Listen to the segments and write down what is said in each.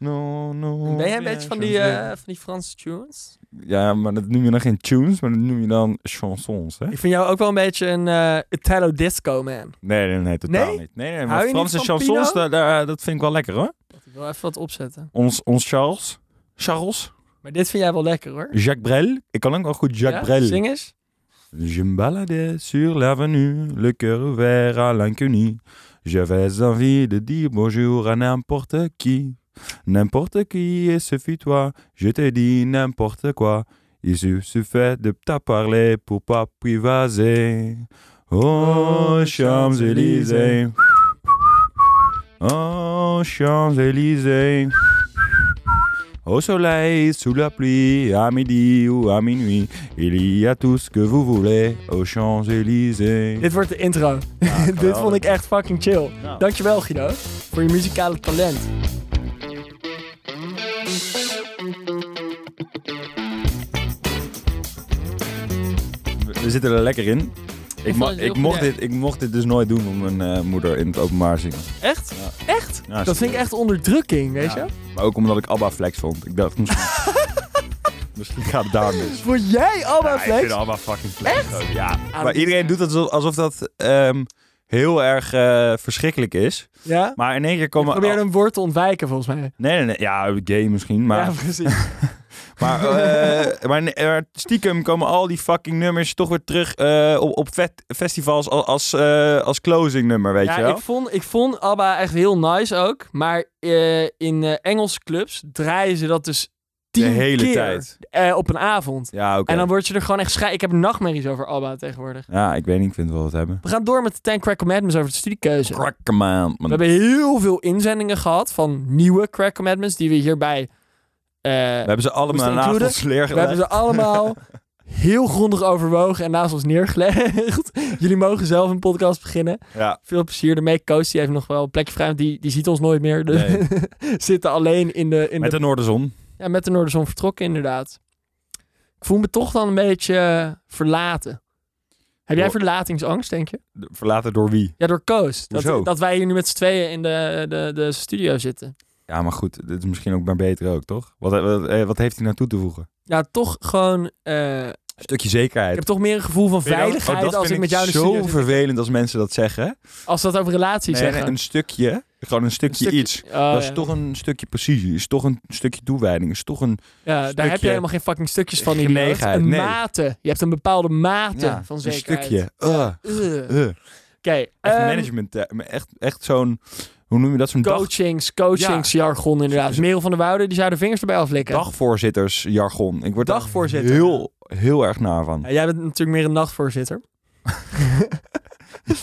No, no. Ben jij een beetje van die, eh, van die Franse tunes? Ja, maar dat noem je dan geen tunes, maar dat noem je dan chansons, hè? Ik vind jou ook wel een beetje een eh, Italo-disco man. Nee, nee, nee, totaal Nee? niet. Nee, nee, Hou maar je Franse niet van chansons, Pino? daar, daar- eh, dat vind ik wel lekker, hoor. Ik wil even wat opzetten. Ons, ons Charles, Charles, Maar dit vind jij wel lekker hoor. Jacques Brel. Ik kan ook wel goed Jacques Ja? Brel. Zing eens. Je me baladais sur l'avenue, le cœur ouvert à l'inconnu. J'avais envie de dire bonjour à n'importe qui. N'importe qui, et ce fut toi. Je t'ai dit n'importe quoi. Il suffit de t'en parler pour pas privaser. Oh, Champs-Élysées. Oh, Champs-Élysées. Au soleil, sous la pluie, à midi ou à minuit, il y a tout ce que vous voulez aux Champs-Élysées. Dit wordt de intro. dit vond ik echt fucking chill. Nou. Dankjewel Guido voor je muzikale talent. We zitten er lekker in. Ik, vond mo- het heel ik, mocht, goed, dit, ik mocht dit dus nooit doen om mijn eh, moeder in het openbaar zingen. Echt? Echt? Ja, Dat vind ik echt onderdrukking, weet Ja. je? Maar ook omdat ik ABBA flex vond. Ik dacht, misschien, misschien gaat het daar mis. Word jij Alba Ja, ik Flex? vind ABBA fucking flex. Echt? Ja. Maar dat- iedereen doet dat alsof- alsof dat ehm, heel erg eh, verschrikkelijk is. Ja? Maar in één keer komen... Probeer een woord te ontwijken volgens mij. Nee, nee, nee. Ja, gay misschien, maar... Ja, precies. Maar, eh, maar, ne- maar stiekem komen al die fucking nummers toch weer terug eh, op, op vet- festivals als, als, eh, als closing nummer, weet je Ja, wel? ik vond, ik vond ABBA echt heel nice ook. Maar eh, in eh, Engelse clubs draaien ze dat dus De tien hele keer, tijd. eh, op een avond. Ja, oké. En dan word je er gewoon echt schij... Ik heb nachtmerries over ABBA tegenwoordig. Ja, ik weet niet, ik vind het wel wat hebben. We gaan door met de 10 Crack Commandments over de studiekeuze. Krakker man. We hebben heel veel inzendingen gehad van nieuwe Crack Commandments die we hierbij... We eh, hebben ze Moest allemaal je naast includen? ons leer we hebben ze allemaal heel grondig overwogen en naast ons neergelegd. Jullie mogen zelf een podcast beginnen. Ja. Veel plezier ermee. Coach die heeft nog wel een plekje vrij, want die, die ziet ons nooit meer. Dus zitten alleen in de... In Met de, de Noorderzon. Ja, met de Noorderzon vertrokken inderdaad. Ik voel me toch dan een beetje eh, verlaten. Heb jij Door- verlatingsangst, denk je? Verlaten door wie? Ja, door Koos. Hoezo? Dat, dat wij hier nu met z'n tweeën in de, de, de studio zitten. Ja, maar goed, dit is misschien ook maar beter ook, toch? Wat, wat, eh, wat heeft hij nou toe te voegen? Ja, toch gewoon... eh, Een stukje ik zekerheid. heb toch meer een gevoel van Vind je dat- veiligheid oh, dat als vind ik met jou in de zo studio zit. vervelend als mensen dat zeggen. Als we dat over relaties Nee, zeggen. een stukje. Gewoon een stukje, stukje- iets. Oh, dat is ja. toch een stukje precisie. Is toch een stukje toewijding. Is toch een... Ja, daar heb stukje je helemaal geen fucking stukjes van. idioot. genegenheid, Een nee. mate. Je hebt een bepaalde mate ja, Ah, van een zekerheid. stukje. Ah, Ugh. Oké. eh. Echt ehm, management. eh, maar Echt, echt zo'n... Hoe noem je dat? Zo'n dag, coachings, coachingsjargon inderdaad. Zo- Merel van der Woude, die zou de vingers erbij aflikken. dagvoorzittersjargon. Ik word daar Dagvoorzitter. Heel, heel erg naar van. Ja, jij bent natuurlijk meer een nachtvoorzitter.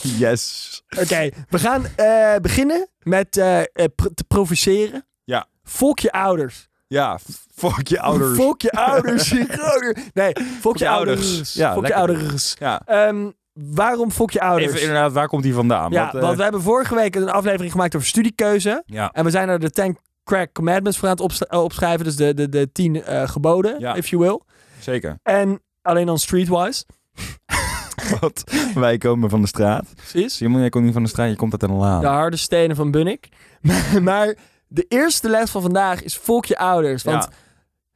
Yes. Oké, we gaan eh, beginnen met eh, eh, pr- te provoceren. Ja. Fok je ouders. Ja, fuck je ouders. Fok je ouders. je ouder- Nee, fok je je ouders. ouders. Ja, Fok je lekker. ouders. Ja. Ehm, waarom fok je ouders? Even inderdaad, waar komt die vandaan? ja, Wat, eh, want we hebben vorige week een aflevering gemaakt over studiekeuze. ja. En we zijn er de 10 Crack Commandments voor aan het opsch- eh, opschrijven. Dus de, de, de 10 eh, geboden, Ja. if you will. zeker. En alleen dan streetwise. Want wij komen van de straat. Precies. Simon, jij komt niet van de straat. Je komt uit een laan. De harde stenen van Bunnik. Maar- maar de eerste les van vandaag is volk je ouders. Want Ja.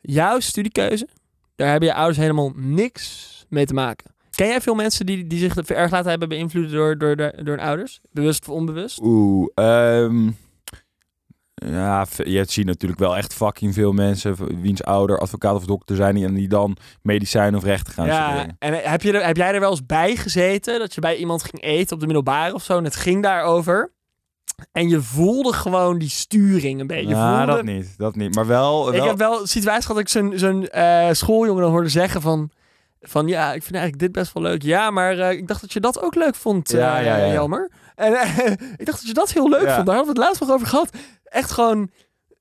jouw studiekeuze, daar hebben je ouders helemaal niks mee te maken. Ken jij veel mensen die, die zich erg laten hebben beïnvloed door, door, door, door hun ouders? Bewust of onbewust? Oeh, ehm ja, v- je ziet natuurlijk wel echt fucking veel mensen v- wiens ouder advocaat of dokter zijn die- en die dan medicijn of rechten gaan studeren. en heb, je er, heb jij er wel eens bij gezeten dat je bij iemand ging eten op de middelbare of zo en het ging daarover? En je voelde gewoon die sturing een beetje. eh, Je Ja, voelde- Nou, dat niet, dat niet. Maar wel, wel Ik heb wel situaties gehad dat ik zo'n zo'n, eh, schooljongen dan hoorde zeggen van... Van ja, ik vind eigenlijk dit best wel leuk. Ja, maar eh, ik dacht dat je dat ook leuk vond, eh Ja, ja, ja. Jelmer. En eh, ik dacht dat je dat heel leuk Ja. vond. Daar hadden we het laatst nog over gehad. Echt gewoon...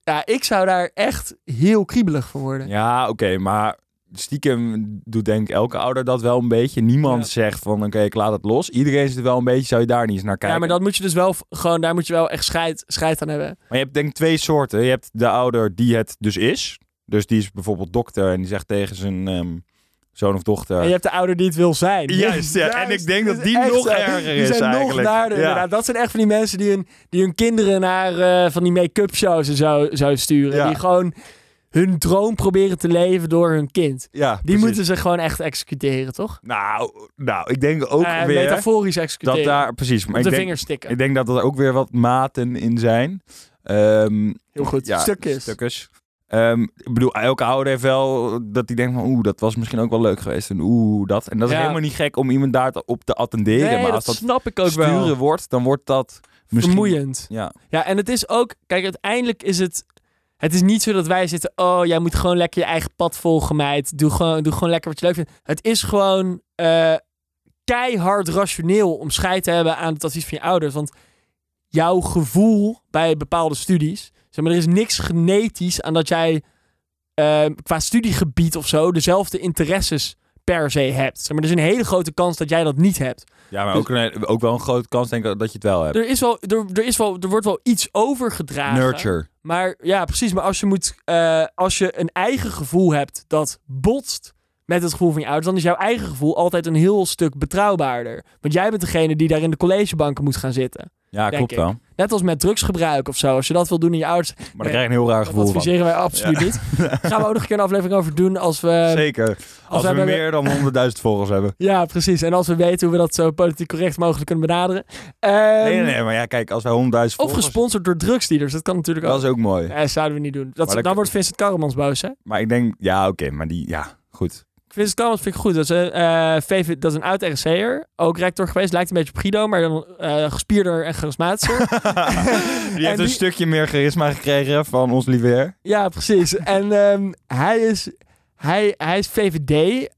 Ja, ik zou daar echt heel kriebelig van worden. ja, oké, maar stiekem doet denk ik elke ouder dat wel een beetje. Niemand Ja. zegt van oké, ik laat het los. Iedereen zit er wel een beetje, zou je daar niet eens naar kijken. Ja, maar dat moet je dus wel v- gewoon... Daar moet je wel echt scheid, scheid aan hebben. Maar je hebt denk ik twee soorten. Je hebt de ouder die het dus is. Dus die is bijvoorbeeld dokter en die zegt tegen zijn, ehm, Zoon of dochter. En je hebt de ouder die het wil zijn. Juist, ja. En ik denk dit dat die echt nog zo. erger Die is zijn nog eigenlijk. daarder, Ja. inderdaad. Dat zijn echt van die mensen die hun, die hun kinderen naar eh, van die make-up shows en zo, zo sturen. Ja. Die gewoon hun droom proberen te leven door hun kind. Ja, Die precies. moeten ze gewoon echt executeren, toch? Nou, nou, ik denk ook Eh, weer metaforisch dat executeren. daar... Precies, maar op ik de denk, vingers stikken. ik denk dat er ook weer wat maten in zijn. Ehm, Heel goed. ja, Stukjes. stukjes. Ehm, ik bedoel, elke ouder heeft wel dat die denkt van... Oeh, dat was misschien ook wel leuk geweest. En oeh, dat. En dat is Ja. helemaal niet gek om iemand daarop te attenderen. Nee, maar dat als dat snap ik ook sturen wel. wordt, dan wordt dat misschien... Vermoeiend. Ja, Ja, en het is ook... Kijk, uiteindelijk is het... Het is niet zo dat wij zitten... Oh, jij moet gewoon lekker je eigen pad volgen, meid. Doe gewoon, doe gewoon lekker wat je leuk vindt. Het is gewoon eh, keihard rationeel om scheid te hebben aan het advies van je ouders. Want jouw gevoel bij bepaalde studies... Zeg maar, er is niks genetisch aan dat jij eh, qua studiegebied of zo... dezelfde interesses per se hebt. Zeg maar, er is een hele grote kans dat jij dat niet hebt. ja maar ook, een- ook wel een grote kans denk ik dat je het wel hebt. Er, is wel, er, er, is wel, er wordt wel iets overgedragen. Nurture. Maar ja, precies. Maar als je, moet, eh, als je een eigen gevoel hebt dat botst met het gevoel van je ouders, dan is jouw eigen gevoel altijd een heel stuk betrouwbaarder. Want jij bent degene die daar in de collegebanken moet gaan zitten. Ja, Denk klopt ik. wel. Net als met drugsgebruik of zo. Als je dat wil doen in je ouders, Maar daar krijg je een heel raar dat gevoel van. adviseren wij absoluut niet. Gaan we ook nog een keer een aflevering over doen als we... Zeker. Als, als we wij bij- meer dan 100.000 volgers hebben. Ja, precies. En als we weten hoe we dat zo politiek correct mogelijk kunnen benaderen. Ehm, Nee, nee, nee, maar ja, kijk, als wij 100.000 volgers... Of gesponsord door drugsdealers. Dat kan natuurlijk ook. Dat is ook mooi. Eh, zouden we niet doen. Dat, Maar dan dat- wordt Vincent Karremans boos, hè? Maar ik denk, ja, oké, maar die, ja, goed. Vincent Karremans vind ik goed. Dat is, een, eh, VV, dat is een oud RSC'er. Ook rector geweest. Lijkt een beetje op Guido, maar dan eh, gespierder en charismatischer. die heeft die- een stukje meer charisma gekregen van ons liever. ja, precies. En ehm, hij, is, hij, hij is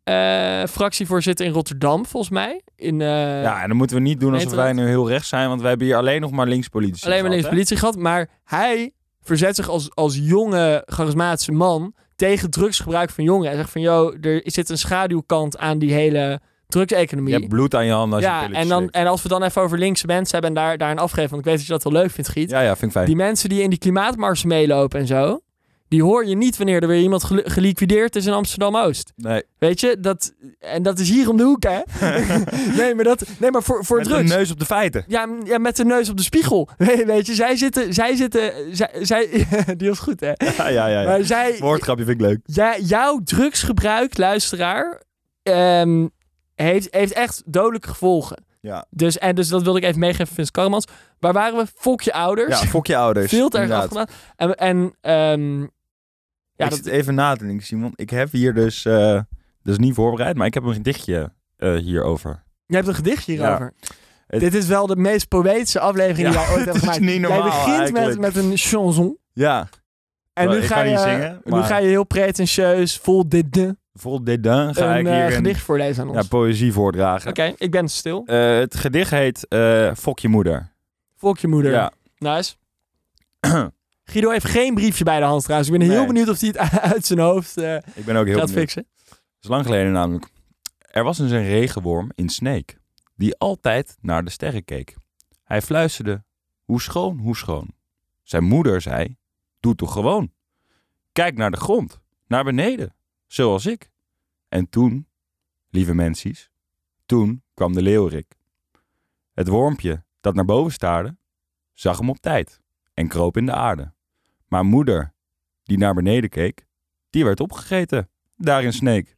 VVD-fractievoorzitter eh, in Rotterdam, volgens mij. In, eh, ja, en dan moeten we niet doen weet alsof je wij nu heel rechts zijn, want wij hebben hier alleen nog maar linkspolitici. alleen maar links gehad, politie gehad. Maar hij verzet zich als, als jonge, charismatische man tegen drugsgebruik van jongeren. Hij zegt van, joh, er zit een schaduwkant aan die hele hè? drugseconomie. Je hebt bloed aan je handen als je ja, een pilletje en, dan, slikt. en als we dan even over linkse mensen hebben en daar, daar een afgeven, want ik weet dat je dat wel leuk vindt, Giet. Ja, ja, vind ik fijn. Die mensen die in die klimaatmars meelopen en zo, die hoor je niet wanneer er weer iemand gel- geliquideerd is in Amsterdam-Oost. Nee, Weet je, dat, en dat is hier om de hoek, hè? nee, maar, dat, nee, maar voor, voor met drugs. een neus op de feiten. Ja, m- ja, met de neus op de spiegel. Weet weet je, zij zitten, zij zitten, zij, zij die was goed, hè? Ja, ja, ja. ja. Maar zij, Woordgrapje vind ik leuk. ja, jouw drugsgebruik, luisteraar, ehm, heeft, heeft echt dodelijke gevolgen. Ja. Dus, en dus dat wilde ik even meegeven van Vince Karmans. Waar waren we? Fok je ouders. Ja, fok je ouders. Veel te erg inderdaad. afgedaan. En, en ehm, ja, ik dat, zit even na te denken, Simon. Ik heb hier dus, eh dat is niet voorbereid, maar ik heb een gedichtje eh, hierover. je hebt een gedichtje Ja. hierover. Het- Dit is wel de meest poëtische aflevering die Ja, jij ooit hebt het is gemaakt. niet normaal jij begint met, eigenlijk. met een chanson. Ja, En Wel, nu ik ga, kan je, niet zingen, nu maar- ga je heel pretentieus, vol dédain, vol dédain ga een ik eh, hier een gedicht voorlezen aan ons. ja, poëzie voordragen. Oké, ik ben stil. Eh, het gedicht heet eh Fok je moeder. Volk je moeder. Ja. Nice. Guido heeft geen briefje bij de hand trouwens. Ik ben heel Nee. benieuwd of hij het uit zijn hoofd eh, Ik ben ook heel gaat benieuwd. fixen. Dat is lang geleden namelijk. Er was eens een regenworm in Sneek, die altijd naar de sterren keek. Hij fluisterde, hoe schoon, hoe schoon. Zijn moeder zei, doe toch gewoon. Kijk naar de grond, naar beneden, zoals ik. En toen, lieve mensies, toen kwam de leeuwerik. Het wormpje dat naar boven staarde, zag hem op tijd en kroop in de aarde. Maar moeder, die naar beneden keek, die werd opgegeten, daar in Sneek.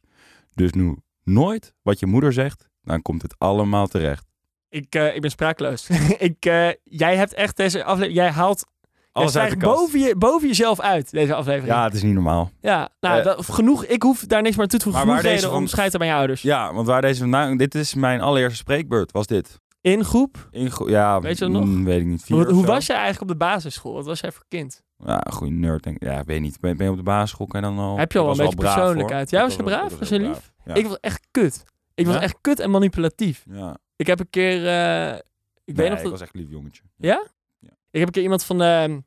Dus nu nooit wat je moeder zegt, dan komt het allemaal terecht. Ik, eh, ik ben sprakeloos. ik, eh, jij hebt echt deze aflevering... Jij haalt... Jij Alles uit de stijgt kast. boven, je, boven jezelf uit, deze aflevering. Ja, het is niet normaal. Ja, nou, Eh, dat- genoeg. Ik hoef daar niks meer aan toe te voegen. Maar waar genoeg reden deze om van- scheid te hebben aan je ouders. Ja, want waar deze vandaan... Dit is mijn allereerste spreekbeurt, was dit. In groep. In gro- ja, Weet je dat nog? mm, weet ik niet. Vier Hoe, of hoe zo. was jij eigenlijk op de basisschool? Wat was jij voor kind? Ja, een goede nerd denk ik. Ja, ik weet niet. Ben, ben je op de basisschool en dan al... Heb je al Ik een was beetje wel braaf, hoor. persoonlijkheid? Ja, Ik was je wel- braaf? ik Was heel je braaf. Ja. Ik was echt kut. Ik was Ja? echt kut en manipulatief. ja. Ik heb een keer... eh, ik weet Nee, nog ik dat... was echt lief jongetje. Ik heb een keer iemand van de,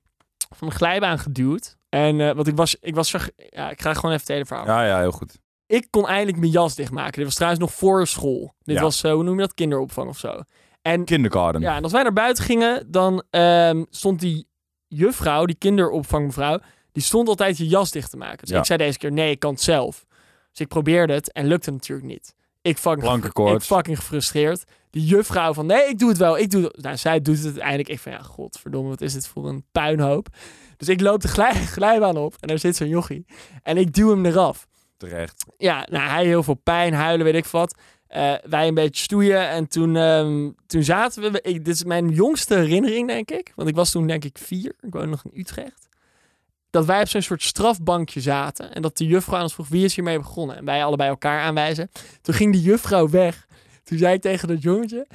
van de glijbaan geduwd. En eh, want ik was, ik was zo, ja, ik ga gewoon even het hele verhaal. Ja, ja, heel goed. Ik kon eindelijk mijn jas dichtmaken. Dit was trouwens nog voor school. Dit Ja. was, eh, hoe noem je dat, kinderopvang of zo. En, Kindergarten. ja, en als wij naar buiten gingen, dan ehm, stond die juffrouw, die kinderopvangmevrouw, die stond altijd je jas dicht te maken. Dus Ja. ik zei deze keer, nee, ik kan het zelf. Dus Dus ik probeerde het en lukte natuurlijk niet. Ik fucking, ik Plankenkoorts. fucking gefrustreerd. Die juffrouw van, nee, ik doe het wel, ik doe het. Nou, zij doet het uiteindelijk. Ik van, ja, godverdomme, wat is dit voor een puinhoop. Dus ik loop de glij- glijbaan op en daar zit zo'n jochie. En ik duw hem eraf. Terecht. Ja, nou, hij heel veel pijn, huilen, weet ik wat. Eh, wij een beetje stoeien en toen, ehm, toen zaten we... Ik, dit is mijn jongste herinnering, denk ik. Want ik was toen denk ik vier. Ik woonde nog in Utrecht. Dat wij op zo'n soort strafbankje zaten. En dat de juffrouw aan ons vroeg, wie is hiermee begonnen? En wij allebei elkaar aanwijzen. Toen ging die juffrouw weg. Toen zei ik tegen dat jongetje...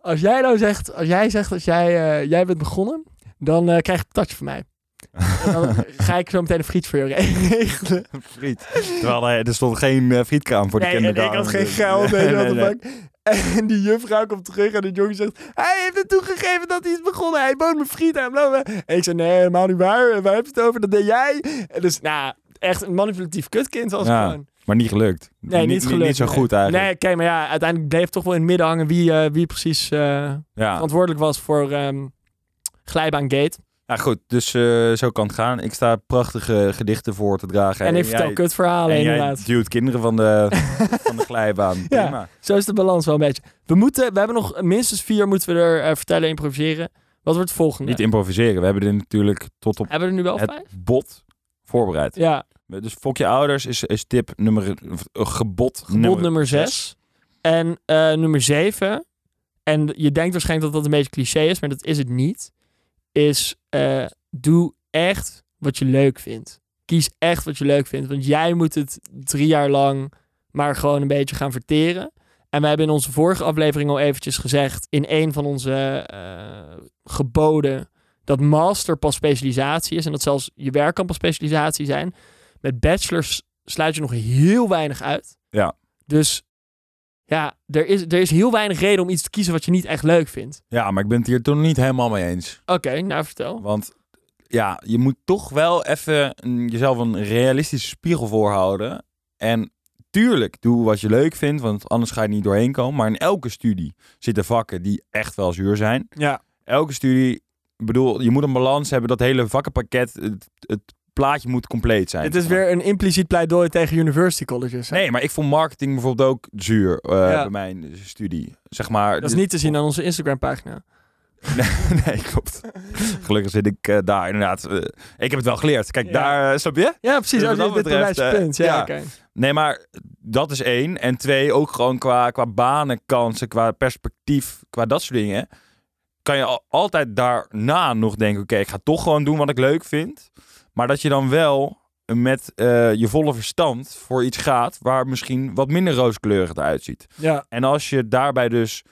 Als jij nou zegt, als jij zegt dat jij, eh, jij bent begonnen... dan eh, krijg je een touch van mij. En dan ga ik zo meteen een friet voor je regelen. Friet. Terwijl eh, er stond geen eh, frietkraam voor de Nee, en kinderen. ik had geen geld. Nee, weet je wat nee, de nee. fuck. En die juffrouw komt terug en de jongen zegt... Hij heeft het toegegeven dat hij is begonnen. Hij bood me friet aan. bla, bla, bla." En ik zei, nee, helemaal niet waar. En Waar heb je het over? Dat deed jij. En dus, nou, echt een manipulatief kutkind was ik Ja. gewoon. Maar niet gelukt. Nee, niet, gelukt. Niet zo nee. goed Nee, eigenlijk. oké, maar ja, uiteindelijk bleef toch wel in het midden hangen... wie, eh, wie precies eh, Ja. verantwoordelijk was voor ehm glijbaan gate. Nou goed, dus eh, zo kan het gaan. Ik sta prachtige gedichten voor te dragen. en ik jij- vertel kutverhalen en jij inderdaad. duwt kinderen van de, van de glijbaan. Prima. Zo is de balans wel een beetje. We, moeten, we hebben nog minstens vier moeten we er eh, vertellen en improviseren. Wat wordt het volgende? Niet improviseren. We hebben dit natuurlijk tot op Hebben we er nu wel het vijf? bot voorbereid. Ja, Dus fok je ouders is, is tip nummer... of, eh, gebod, bot nummer zes. En eh, nummer zeven. En je denkt waarschijnlijk dat dat een beetje cliché is, maar dat is het niet. Is eh, doe echt wat je leuk vindt. Kies echt wat je leuk vindt. Want jij moet het drie jaar lang maar gewoon een beetje gaan verteren. En we hebben in onze vorige aflevering al eventjes gezegd... in een van onze eh, geboden... dat master pas specialisatie is... en dat zelfs je werk kan pas specialisatie zijn. Met bachelors sluit je nog heel weinig uit. Ja. Dus ja, er is, er is heel weinig reden om iets te kiezen... wat je niet echt leuk vindt. Ja, maar ik ben het hier toen niet helemaal mee eens. Oké, nou vertel. Want ja, je moet toch wel even een- jezelf een realistische spiegel voorhouden. En tuurlijk, doe wat je leuk vindt, want anders ga je er niet doorheen komen. Maar in elke studie zitten vakken die echt wel zuur zijn. Ja. Elke studie, ik bedoel, je moet een balans hebben. Dat hele vakkenpakket, het, het plaatje moet compleet zijn. Het is weer een impliciet pleidooi tegen university colleges. hè? Nee, maar ik vond marketing bijvoorbeeld ook zuur eh, Ja. bij mijn studie. Zeg maar, Dat is niet te zien aan onze Instagram-pagina. Nee, klopt. Gelukkig zit ik eh, daar inderdaad. eh, ik heb het wel geleerd. Kijk, Ja. daar, eh, snap je? Ja, precies. Dus wat Oh, dit dat dit betreft, bewijst je eh, punt. Ja, ja. oké. Nee, maar dat is één. En twee, ook gewoon qua, qua banen, kansen, qua perspectief, qua dat soort dingen. Kan je al- altijd daarna nog denken, oké, ik ga toch gewoon doen wat ik leuk vind. Maar dat je dan wel met eh, je volle verstand voor iets gaat waar misschien wat minder rooskleurig het uitziet. Ja, En als je daarbij dus,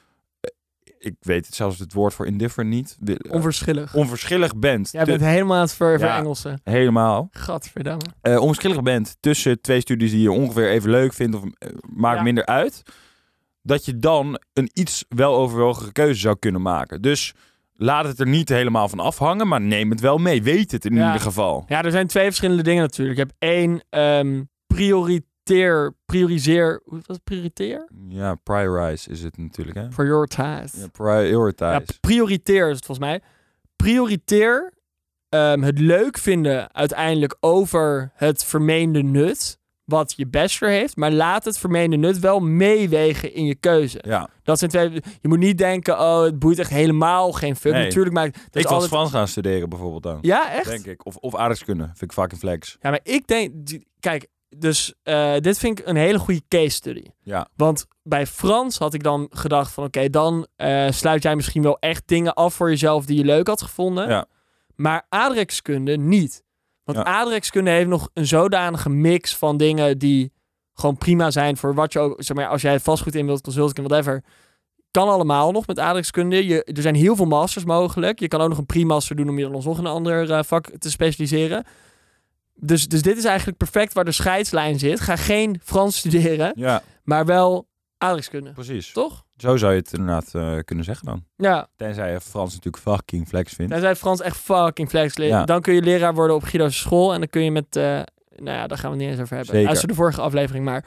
eh, ik weet het zelfs het woord voor indifferent niet, wi- eh, onverschillig. onverschillig bent, Jij tu- bent helemaal aan het ver, Ja. Engelsen. helemaal, Gadverdamme. eh, onverschillig bent tussen twee studies die je ongeveer even leuk vindt of eh, maakt Ja. minder uit, dat je dan een iets weloverwogen keuze zou kunnen maken. Dus laat het er niet helemaal van afhangen, maar neem het wel mee. Weet het in Ja. ieder geval. Ja, er zijn twee verschillende dingen natuurlijk. Je hebt één, ehm, prioriteer, prioriseer, hoe was het? Prioriteer? Ja, prioritize is het natuurlijk, hè? Prioritize. Ja, prioritize. Ja, prioriteer is het volgens mij. Prioriteer ehm, het leuk vinden uiteindelijk over het vermeende nut wat je bachelor heeft, maar laat het vermeende nut wel meewegen in je keuze. Ja. Dat zijn twee. Je moet niet denken, oh, het boeit echt helemaal geen fuck. Nee. Natuurlijk maakt. Dat Ik is was altijd- Frans gaan studeren bijvoorbeeld dan. Ja, echt. Denk ik. Of, of aardrijkskunde. Vind ik fucking flex. Ja, maar ik denk. die- Kijk, dus eh, dit vind ik een hele goede case study. Ja. Want bij Frans had ik dan gedacht van oké, dan eh, sluit jij misschien wel echt dingen af voor jezelf die je leuk had gevonden. Ja. Maar aardrijkskunde niet. Want Ja. aardrijkskunde heeft nog een zodanige mix van dingen die gewoon prima zijn voor wat je ook, zeg maar, als jij vastgoed in wilt, consulting en whatever. Kan allemaal nog met aardrijkskunde. Je, er zijn heel veel masters mogelijk. Je kan ook nog een pre-master doen om je dan alsnog in een ander eh, vak te specialiseren. Dus, dus dit is eigenlijk perfect waar de scheidslijn zit. Ga geen Frans studeren, Ja, maar wel aardrijkskunde. precies. Toch? Zo zou je het inderdaad eh, kunnen zeggen dan. Ja. Tenzij je Frans natuurlijk fucking flex vindt. Tenzij Frans echt fucking flex leert. Ja. Dan kun je leraar worden op Guido's school. En dan kun je met... eh, nou ja, daar gaan we het niet eens over hebben. Zeker. Luister de vorige aflevering maar.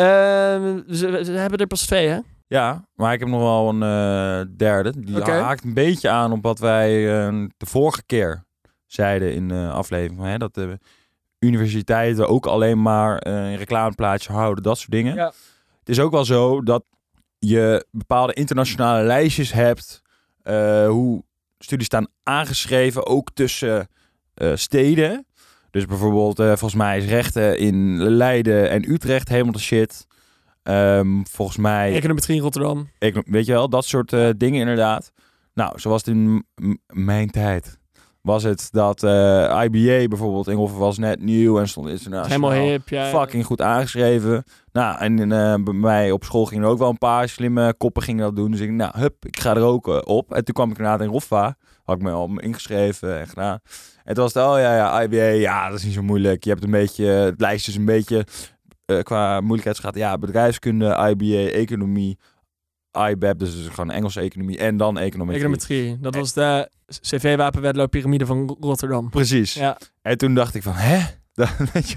Ehm, ze, ze hebben er pas twee, hè? Ja, maar ik heb nog wel een eh, derde. Die Oké. haakt een beetje aan op wat wij eh, de vorige keer zeiden in de aflevering. Hè, dat de universiteiten ook alleen maar eh, een reclameplaatje houden, dat soort dingen. Ja. Het is ook wel zo dat je bepaalde internationale lijstjes hebt, eh, hoe studies staan aangeschreven, ook tussen eh, steden. Dus bijvoorbeeld, eh, volgens mij is rechten in Leiden en Utrecht helemaal de shit. Ehm, volgens mij... Econometrie in Rotterdam. Ik, weet je wel, dat soort eh, dingen inderdaad. Nou, zoals het in m- m- mijn tijd was het dat eh, IBA bijvoorbeeld in Hoffen was net nieuw en stond internationaal Helemaal hip. Ja. fucking goed aangeschreven. Nou, en eh, bij mij op school gingen er ook wel een paar slimme koppen gingen dat doen. Dus ik, nou, hup, ik ga er ook eh, op. En toen kwam ik inderdaad in Roffa. Had ik me al ingeschreven en gedaan. En toen was het, oh ja, ja, IBA, ja, dat is niet zo moeilijk. Je hebt een beetje, eh, het lijstje is een beetje eh, qua moeilijkheidsgraad. Ja, bedrijfskunde, IBA, economie, IBAP, dus het is gewoon Engelse economie en dan economie. Econometrie. Dat was de CV-wapenwedloop-pyramide van Rotterdam. Precies. Ja. En toen dacht ik van, hè? Dat, weet je,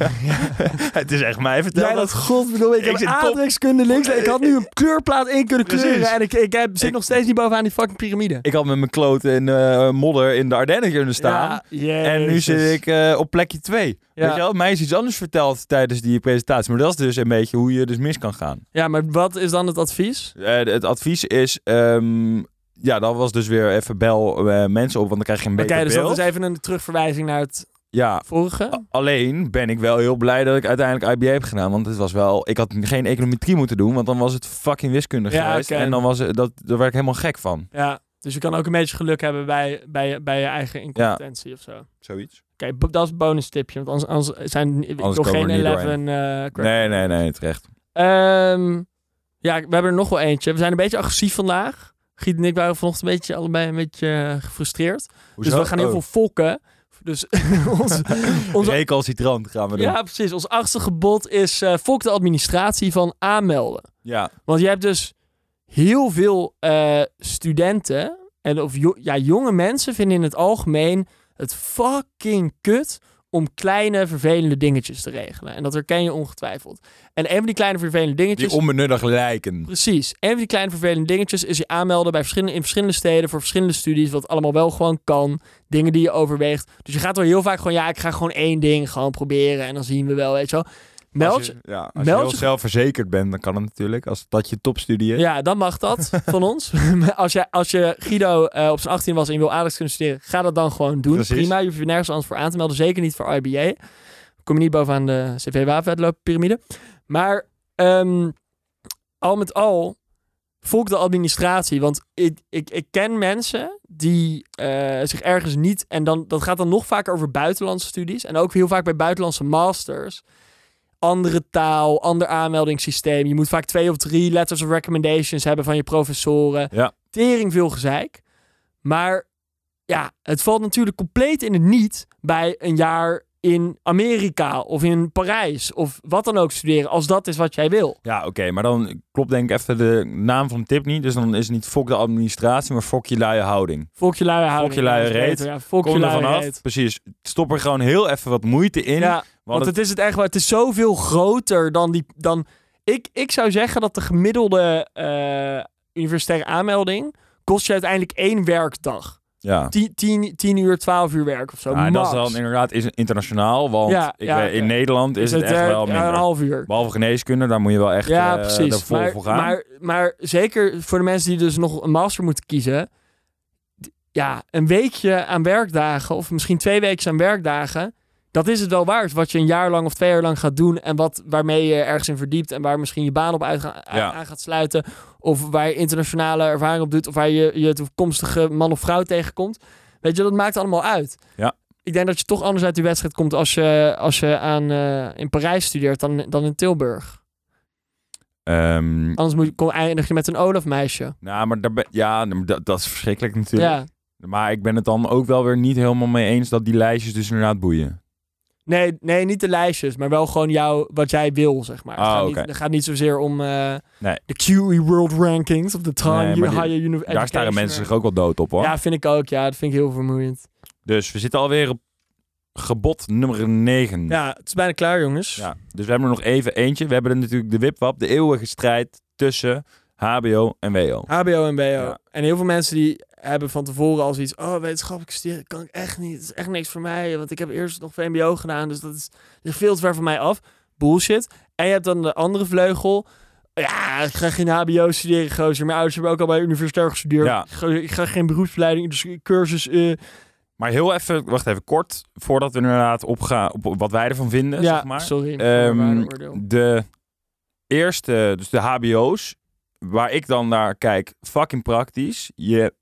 het is echt mij verteld. Jij dat- dat godverdomme, ik, Ik heb zit top- aardrijkskunde links. Ik had nu een kleurplaat in kunnen Precies. kleuren en ik, ik heb, zit Ik- nog steeds niet bovenaan die fucking piramide. Ik had met mijn kloot in eh, modder in de Ardennen kunnen staan. Ja, En nu jezus. zit ik eh, op plekje 2. Ja. Weet je wel, mij is iets anders verteld tijdens die presentatie. Maar dat is dus een beetje hoe je dus mis kan gaan. Ja, maar wat is dan het advies? Eh, het advies is... ehm, ja, dat was dus weer even bel eh, mensen op, want dan krijg je een Oké, beter dus beeld. dat is even een terugverwijzing naar het Ja, vorige. alleen ben ik wel heel blij dat ik uiteindelijk IBA heb gedaan. Want het was wel... Ik had geen econometrie moeten doen, want dan was het fucking wiskunde Ja, geweest. oké. En dan was het, dat, daar werd ik helemaal gek van. Ja, dus je kan ook een beetje geluk hebben bij, bij, bij je eigen incompetentie of zo. Oké, Zoiets. bo- dat is een bonus tipje, want anders, anders zijn ik Anders wil komen geen we er niet 11 eh, crack. Nee, nee, nee, terecht. Ehm, ja, we hebben er nog wel eentje. We zijn een beetje agressief vandaag. Giet en ik waren vanochtend een beetje, allebei een beetje eh, gefrustreerd. Hoezo? Dus we gaan heel Oh. veel volken. Dus ons, onze, Recalcitrant gaan we doen. ja, precies. Ons achtste gebod is eh volk de administratie van aanmelden. Ja. Want je hebt dus heel veel eh, studenten en of jo- ja, jonge mensen vinden in het algemeen het fucking kut om kleine vervelende dingetjes te regelen. En dat herken je ongetwijfeld. En een van die kleine vervelende dingetjes... Die onbenullig lijken. Precies. Een van die kleine vervelende dingetjes is je aanmelden bij verschillende, in verschillende steden voor verschillende studies, wat allemaal wel gewoon kan. Dingen die je overweegt. Dus je gaat wel heel vaak gewoon, ja, ik ga gewoon één ding gewoon proberen en dan zien we wel, weet je wel. Meld Als je- je, ja, als meld je heel je- zelfverzekerd bent, dan kan het natuurlijk. Als dat je topstudie is. Ja, dan mag dat van ons. Maar als, je, als je Guido eh, op zijn 18 was en je wil aardig kunnen studeren, ga dat dan gewoon doen. Precies. Prima, je hoeft je nergens anders voor aan te melden. Zeker niet voor IBA. Kom je niet bovenaan de CV-wapenwedloop-pyramide. Maar ehm, al met al, volg de administratie. Want ik, ik, ik ken mensen die eh, zich ergens niet... En dan, dat gaat dan nog vaker over buitenlandse studies. En ook heel vaak bij buitenlandse masters andere taal, ander aanmeldingssysteem. Je moet vaak twee of drie letters of recommendations hebben van je professoren. Ja. Tering veel gezeik. Maar ja, het valt natuurlijk compleet in het niet bij een jaar in Amerika of in Parijs of wat dan ook studeren, als dat is wat jij wil. Ja, oké. maar dan klopt denk ik even de naam van de tip niet. Dus dan is het niet fok de administratie, maar fok je luie houding. Volk je luie houding. je luie dat is reet. beter, Ja, volk je Kom er luie vanaf. reet. Precies. Stop er gewoon heel even wat moeite in. Ja, want Want het, het is het echt wel. Het is zoveel groter dan die. Dan, ik, ik zou zeggen dat de gemiddelde eh, universitaire aanmelding. kost je uiteindelijk één werkdag. ja. 10 tien, tien uur, 12 uur werk of zo. Ja, en Ah, dat is max. dan inderdaad is internationaal. Want Ja, ik ja, weet- in oké. Nederland is, het, echt eh, wel ja, minder. een half uur. Behalve geneeskunde, daar moet je wel echt Ja, eh, er precies. vol Maar, voor gaan. maar, maar zeker voor de mensen die dus nog een master moeten kiezen. d- Ja, een weekje aan werkdagen of misschien twee weken aan werkdagen. Dat is het wel waard wat je een jaar lang of twee jaar lang gaat doen. En wat, waarmee je ergens in verdiept. En waar misschien je baan op uit, ga- Ja. aan gaat sluiten. Of waar je internationale ervaring op doet. Of waar je je toekomstige man of vrouw tegenkomt. Weet je, dat maakt allemaal uit. Ja. Ik denk dat je toch anders uit die wedstrijd komt als je, als je aan, eh, in Parijs studeert dan, dan in Tilburg. Ehm, Anders moet, je- kom, eindig je met een Olaf-meisje. nou, maar daar ben- ja, dat, dat is verschrikkelijk natuurlijk. Ja. Maar ik ben het dan ook wel weer niet helemaal mee eens dat die lijstjes dus inderdaad boeien. Nee, nee, niet de lijstjes, maar wel gewoon jouw, wat jij wil, zeg maar. het, Ah, gaat oké. niet, het gaat niet zozeer om eh, Nee. de QE World Rankings of de Tran Nee, maar die- Higher Uni- Daar staren Education. eh. mensen zich ook wel dood op hoor. Ja, vind ik ook. Ja, dat vind ik heel vermoeiend. Dus we zitten alweer op gebod nummer 9. Ja, het is bijna klaar, jongens. Hm. Ja, Dus we hebben er nog even eentje. We hebben er natuurlijk de wipwap, de eeuwige strijd tussen HBO en WO. HBO en BO. Ja. En heel veel mensen die hebben van tevoren al zoiets. Oh, wetenschappelijk studeren kan ik echt niet. Het is echt niks voor mij. Want ik heb eerst nog VMBO gedaan. Dus dat is ligt veel te ver van mij af. Bullshit. En je hebt dan de andere vleugel. Ja, ik ga geen HBO studeren, gozer. Mijn ouders hebben ook al bij de universiteit gestudeerd. Ja. Ik, ga, ik ga geen beroepsopleiding, dus cursus. eh, Maar heel even, wacht even kort, voordat we inderdaad opgaan op op wat wij ervan vinden, ja, zeg maar. sorry. Ehm, waardeoordeel. de eerste, dus de HBO's, waar ik dan naar kijk, fucking praktisch. Je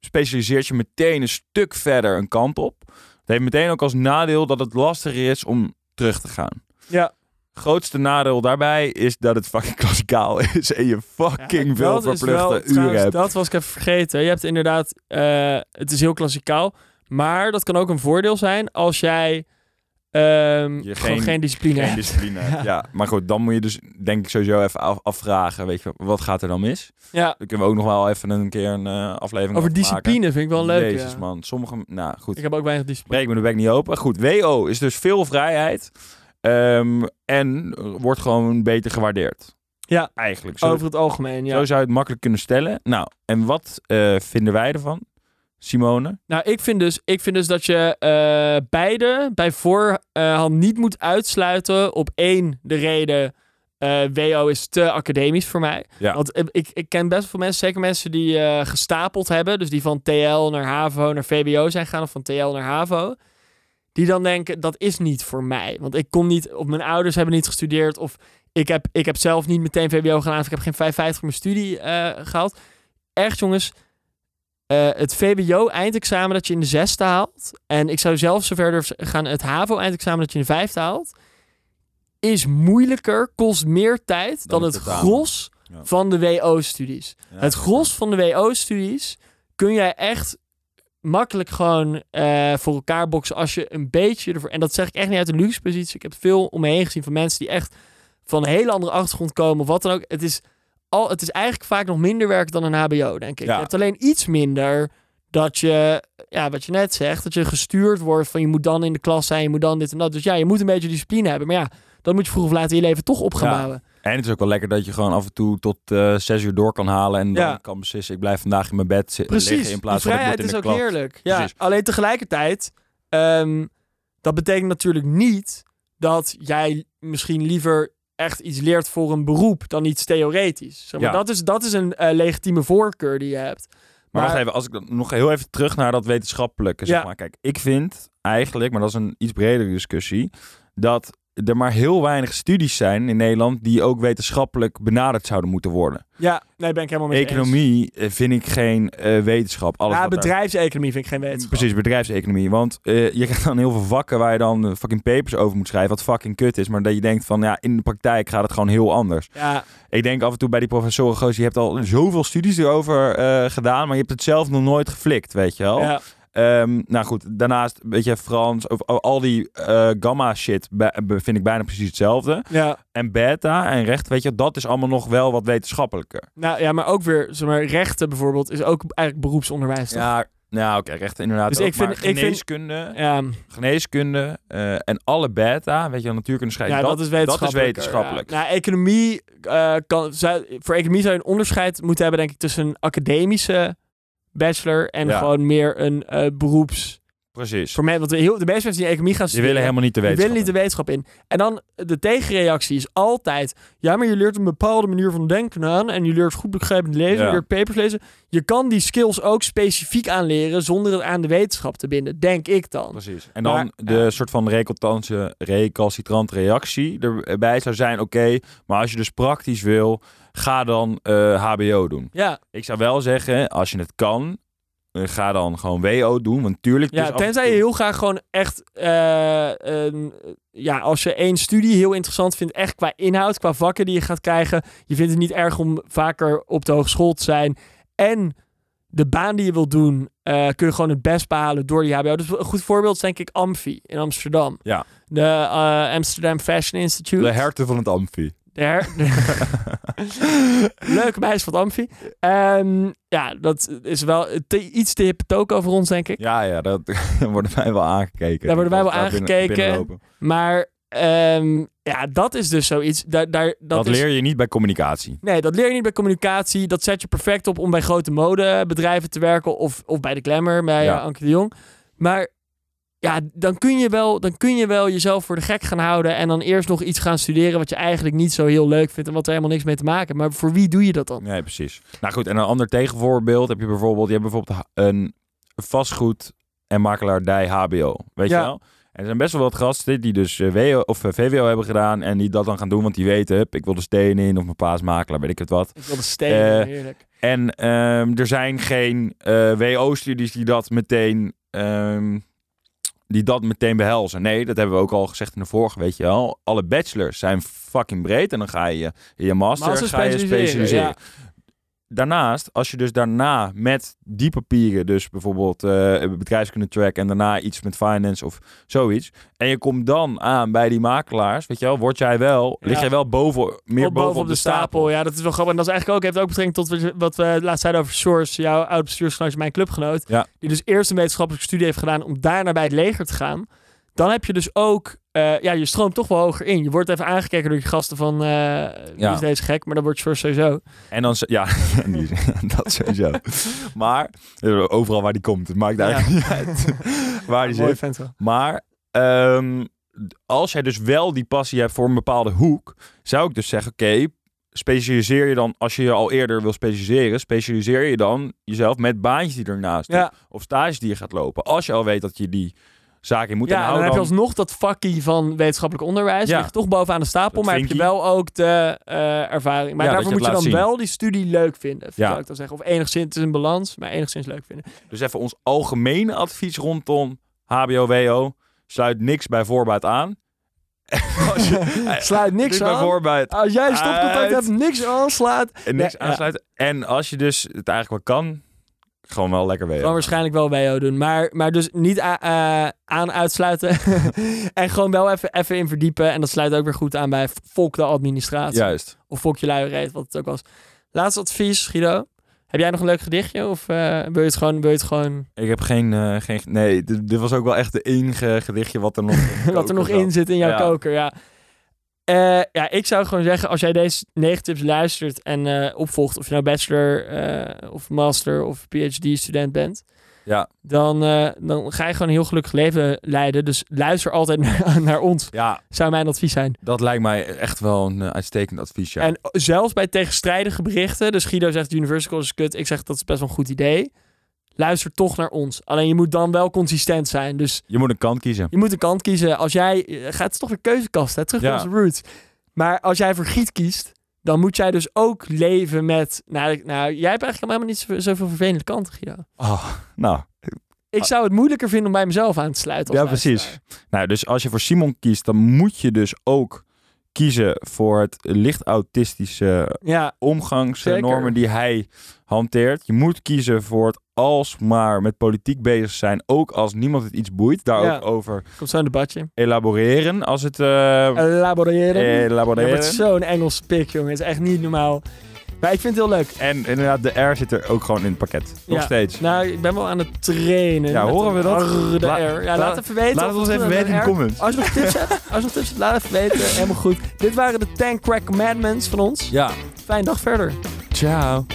specialiseert je meteen een stuk verder een kant op. Het heeft meteen ook als nadeel dat het lastiger is om terug te gaan. Ja. Grootste nadeel daarbij is dat het fucking klassikaal is en je fucking Ja, veel dat is wel- verplichte uren trouwens, hebt. Dat was ik even vergeten. Je hebt inderdaad, eh, het is heel klassikaal. Maar dat kan ook een voordeel zijn als jij ehm, Je gewoon geen- geen discipline Geen hebt. discipline. hebt. Ja. ja. maar goed, dan moet je dus denk ik sowieso even af- afvragen, weet je, wat gaat er dan mis? Ja, Dan kunnen we ook nog wel even een keer een eh, aflevering over maken. discipline vind ik wel leuk. Jezus ja. man, sommige... Nou goed, Ik heb ook weinig discipline. breek me de bek niet open. Goed, WO is dus veel vrijheid ehm, en wordt gewoon beter gewaardeerd. Ja. Eigenlijk. Zo, Over het algemeen, ja. zo zou je het makkelijk kunnen stellen. Nou, en wat eh, vinden wij ervan, Simone? Nou, ik vind dus, ik vind dus dat je eh, beide bij voorhand niet moet uitsluiten op één de reden. eh, WO is te academisch voor mij. Ja. Want eh, ik, ik ken best veel mensen, zeker mensen die eh, gestapeld hebben. Dus die van TL naar HAVO naar VBO zijn gegaan of van TL naar HAVO. Die dan denken, dat is niet voor mij. Want ik kom niet, of mijn ouders hebben niet gestudeerd. Of ik heb, ik heb zelf niet meteen VBO gedaan. Of ik heb geen 550 voor mijn studie eh, gehaald. Echt jongens, eh, het VBO-eindexamen dat je in de zesde haalt. En ik zou zelf zover durven gaan, het HAVO-eindexamen dat je in de vijfde haalt. Is moeilijker, kost meer tijd dan, Dan het het tentamen. gros Ja. van de WO-studies. het gros van de WO-studies kun jij echt makkelijk gewoon eh, voor elkaar boksen als je een beetje ervoor... En dat zeg ik echt niet uit een luxe positie. Ik heb veel om me heen gezien van mensen die echt van een hele andere achtergrond komen of wat dan ook. Het is, al, het is eigenlijk vaak nog minder werk dan een HBO, denk ik. Ja. Je hebt alleen iets minder dat je, ja, wat je net zegt, dat je gestuurd wordt van je moet dan in de klas zijn, je moet dan dit en dat. Dus ja, je moet een beetje discipline hebben. Maar ja, dan moet je vroeg of laat in je leven toch op gaan Ja. bouwen. En het is ook wel lekker dat je gewoon af en toe tot eh, zes uur door kan halen en dan Ja. kan beslissen, ik blijf vandaag in mijn bed zi- Precies, liggen in plaats die van ik moet vrijheid in is de ook klas. heerlijk. Ja, Precies. Alleen tegelijkertijd, ehm, dat betekent natuurlijk niet dat jij misschien liever echt iets leert voor een beroep dan iets theoretisch. Zeg maar, Ja. dat, is, dat is een eh, legitieme voorkeur die je hebt. Maar, Maar- wacht even, als ik dan nog heel even terug naar dat wetenschappelijke, zeg Ja. maar. Kijk, ik vind eigenlijk, maar dat is een iets bredere discussie, dat er maar heel weinig studies zijn in Nederland die ook wetenschappelijk benaderd zouden moeten worden. Ja, nee, ben ik helemaal mee. Economie eh, vind ik geen eh, wetenschap. Alles Ja, wat daar- Mm, bedrijfseconomie vind ik geen wetenschap. Precies, bedrijfseconomie. Want eh, je krijgt dan heel veel vakken waar je dan eh, fucking papers over moet schrijven, wat fucking kut is. Maar dat je denkt van, ja, in de praktijk gaat het gewoon heel anders. Ja, Ik denk af en toe bij die professoren, goos, je hebt al zoveel studies erover eh, gedaan, maar je hebt het zelf nog nooit geflikt, weet je wel. ja, Ehm, nou goed, daarnaast een beetje Frans, of, of al die eh, gamma shit be- be- vind ik bijna precies hetzelfde. ja. En beta en recht, weet je, dat is allemaal nog wel wat wetenschappelijker. Nou, ja, maar ook weer, zeg maar, rechten bijvoorbeeld is ook eigenlijk beroepsonderwijs. toch? Ja, nou oké, recht inderdaad. Dus ook, ik vind- maar ik vind- geneeskunde, ja, geneeskunde eh, en alle beta, weet je, wel, natuurkunde schrijven, ja, dat, is wetenschappelijk. wetenschappelijk. Ja. Nou, economie eh, kan, zou, voor economie zou je een onderscheid moeten hebben, denk ik, tussen een academische bachelor en Ja. gewoon meer een eh, beroeps. precies. Voor mij, want de, heel, de meeste mensen die economie gaan Ze studeren, willen helemaal niet de die wetenschap. willen niet de wetenschap in. En dan de tegenreactie is altijd: ja, maar je leert een bepaalde manier van denken aan. En je leert goed begrijpend lezen, Ja. je leert papers lezen. Je kan die skills ook specifiek aanleren zonder het aan de wetenschap te binden, denk ik dan. Precies. En dan Maar, de ja. soort van recalcitrante- recalcitrante reactie erbij zou zijn, oké, maar als je dus praktisch wil, ga dan eh, HBO doen. Ja, Ik zou wel zeggen, als je het kan, eh, ga dan gewoon WO doen. Want tuurlijk... ja dus af en tenzij toe- je heel graag gewoon echt, eh, een- ja, als je één studie heel interessant vindt, echt qua inhoud, qua vakken die je gaat krijgen. Je vindt het niet erg om vaker op de hogeschool te zijn. En de baan die je wilt doen, eh, kun je gewoon het best behalen door die HBO. Dus een goed voorbeeld is denk ik Amfi in Amsterdam. Ja. De eh, Amsterdam Fashion Institute. De herten van het amfi. De her- Leuke meisje van het Amfi. Ehm, ja, dat is wel te- iets te hip token over ons, denk ik. Ja, ja, dat daar worden wij wel aangekeken. Daar worden wij wel Als we daar binnen- aangekeken. binnenlopen. Maar Ehm, ja, dat is dus zoiets. Daar, daar, dat Dat, is- leer je niet bij communicatie. Nee, dat leer je niet bij communicatie. Dat zet je perfect op om bij grote modebedrijven te werken. Of, of bij de Glamour, bij Ja. eh, Anke de Jong. Maar ja, dan kun, je wel, dan kun je wel jezelf voor de gek gaan houden. En dan eerst nog iets gaan studeren wat je eigenlijk niet zo heel leuk vindt. En wat er helemaal niks mee te maken heeft. Maar voor wie doe je dat dan? Nee, precies. Nou goed, en een ander tegenvoorbeeld heb je bijvoorbeeld... Je hebt bijvoorbeeld een vastgoed- en makelaardij HBO. Weet Ja. je wel? En er zijn best wel wat gasten die dus eh, WO, of eh, VWO hebben gedaan... en die dat dan gaan doen, want die weten... hup, ik wil de steen in of mijn paas makelaar, weet ik het wat. Ik wil de stenen, Eh, heerlijk. En ehm, er zijn geen eh, WO-studies die dat meteen... ehm, die dat meteen behelzen. Nee, dat hebben we ook al gezegd in de vorige, weet je wel. Alle bachelors zijn fucking breed. En dan ga je in je master, Master ga je specialiseren, specialiseren. ja. Daarnaast, als je dus daarna met die papieren... dus bijvoorbeeld eh bedrijfskunde track... en daarna iets met finance of zoiets... en je komt dan aan bij die makelaars... weet je wel, word jij wel... Ja. lig jij wel boven, meer Op- boven op de stapel. Ja, dat is wel grappig. En dat is eigenlijk ook, heeft ook betrekking tot wat je- wat we laatst zeiden over Source, jouw oud bestuursgenootje, mijn clubgenoot. Ja. Die dus eerst een wetenschappelijke studie heeft gedaan om daarna bij het leger te gaan. Dan heb je dus ook, eh, ja, je stroomt toch wel hoger in. Je wordt even aangekeken door je gasten van, eh wie Ja. is deze gek? Maar dan wordt Source sowieso. En dan, z- ja, die- dat sowieso. Maar, eh, overal waar die komt, het maakt eigenlijk niet uit waar die Mooi zit. vent wel. Maar, ehm, als jij dus wel die passie hebt voor een bepaalde hoek, zou ik dus zeggen, oké, specialiseer je dan, als je je al eerder wil specialiseren, specialiseer je dan jezelf met baantjes die ernaast Ja. doen. Of stages die je gaat lopen. Als je al weet dat je die zaak in moet en Ja, en dan hou heb dan... je alsnog dat vakkie van wetenschappelijk onderwijs. Ja. Ligt toch bovenaan de stapel, Dat maar heb je vinkie. wel ook de eh, ervaring. Maar Ja, dat daarvoor je moet je het dan laat zien. wel die studie leuk vinden, Ja. zou ik dan zeggen. Of enigszins, het is een balans, maar enigszins leuk vinden. Dus even ons algemene advies rondom HBO-WO. Sluit niks bij voorbaat aan. Als je- Sluit niks Dus bij aan. voorbaat Als jij stopcontact Uit. hebt, niks aanslaat. en niks Ja, ja. aansluiten. En als je dus het eigenlijk wel kan, gewoon wel lekker Dan weten. waarschijnlijk wel WO doen. Maar, maar dus niet a- eh, aan uitsluiten. en gewoon wel even, even in verdiepen. En dat sluit ook weer goed aan bij volk de administratie. Juist. Of volk je luie reet, wat het ook was. Laatste advies, Guido. Heb jij nog een leuk gedichtje? Of eh, wil, je het gewoon, wil je het gewoon Ik heb geen... eh, geen nee, dit, dit was ook wel echt de enige gedichtje wat er nog, wat er nog in zit in jouw Ja. koker, ja. Eh, ja, ik zou gewoon zeggen, als jij deze negen tips luistert en eh, opvolgt, of je nou bachelor eh, of master of PhD-student bent, Ja. dan, eh, dan ga je gewoon een heel gelukkig leven leiden. Dus luister altijd naar, naar ons, Ja, zou mijn advies zijn. dat lijkt mij echt wel een eh, uitstekend advies, ja. En zelfs bij tegenstrijdige berichten, dus Guido zegt Universal College is kut, ik zeg dat is best wel een goed idee. Luister toch naar ons. Alleen je moet dan wel consistent zijn. Dus Je moet een kant kiezen. Je moet een kant kiezen. Als jij. eh, Gaat het is toch weer keuzekast, hè? Terug Ja. naar onze roots. Maar als jij voor giet kiest, dan moet jij dus ook leven met. Nou, ik- nou jij hebt eigenlijk helemaal niet zoveel, zoveel vervelende kanten, Guido. Oh, nou, Ik zou het moeilijker vinden om bij mezelf aan te sluiten. als Ja, precies. luisteraar. Nou, dus als je voor Simon kiest, dan moet je dus ook kiezen voor het licht autistische Ja, Zeker. omgangsnormen die hij hanteert. Je moet kiezen voor het alsmaar met politiek bezig zijn, ook als niemand het iets boeit. Daar Ja. ook over komt zo'n debatje. elaboreren als het... eh, Elaboreren. Dat elaboreren. wordt zo'n Engels pik, jongen. Het is echt niet normaal. Maar ik vind het heel leuk. En inderdaad, de R zit er ook gewoon in het pakket. Nog Ja. steeds. Nou, ik ben wel aan het trainen. Ja, Met horen we een dat? R, de La- R. Ja, laat laat- even weten. Laat of het ons dat even een weten in de R comments. Als je nog tips hebt, als je nog tips hebt, laat even weten. Helemaal goed. Dit waren de 10 Crack Commandments van ons. Ja. Fijne dag verder. Ciao.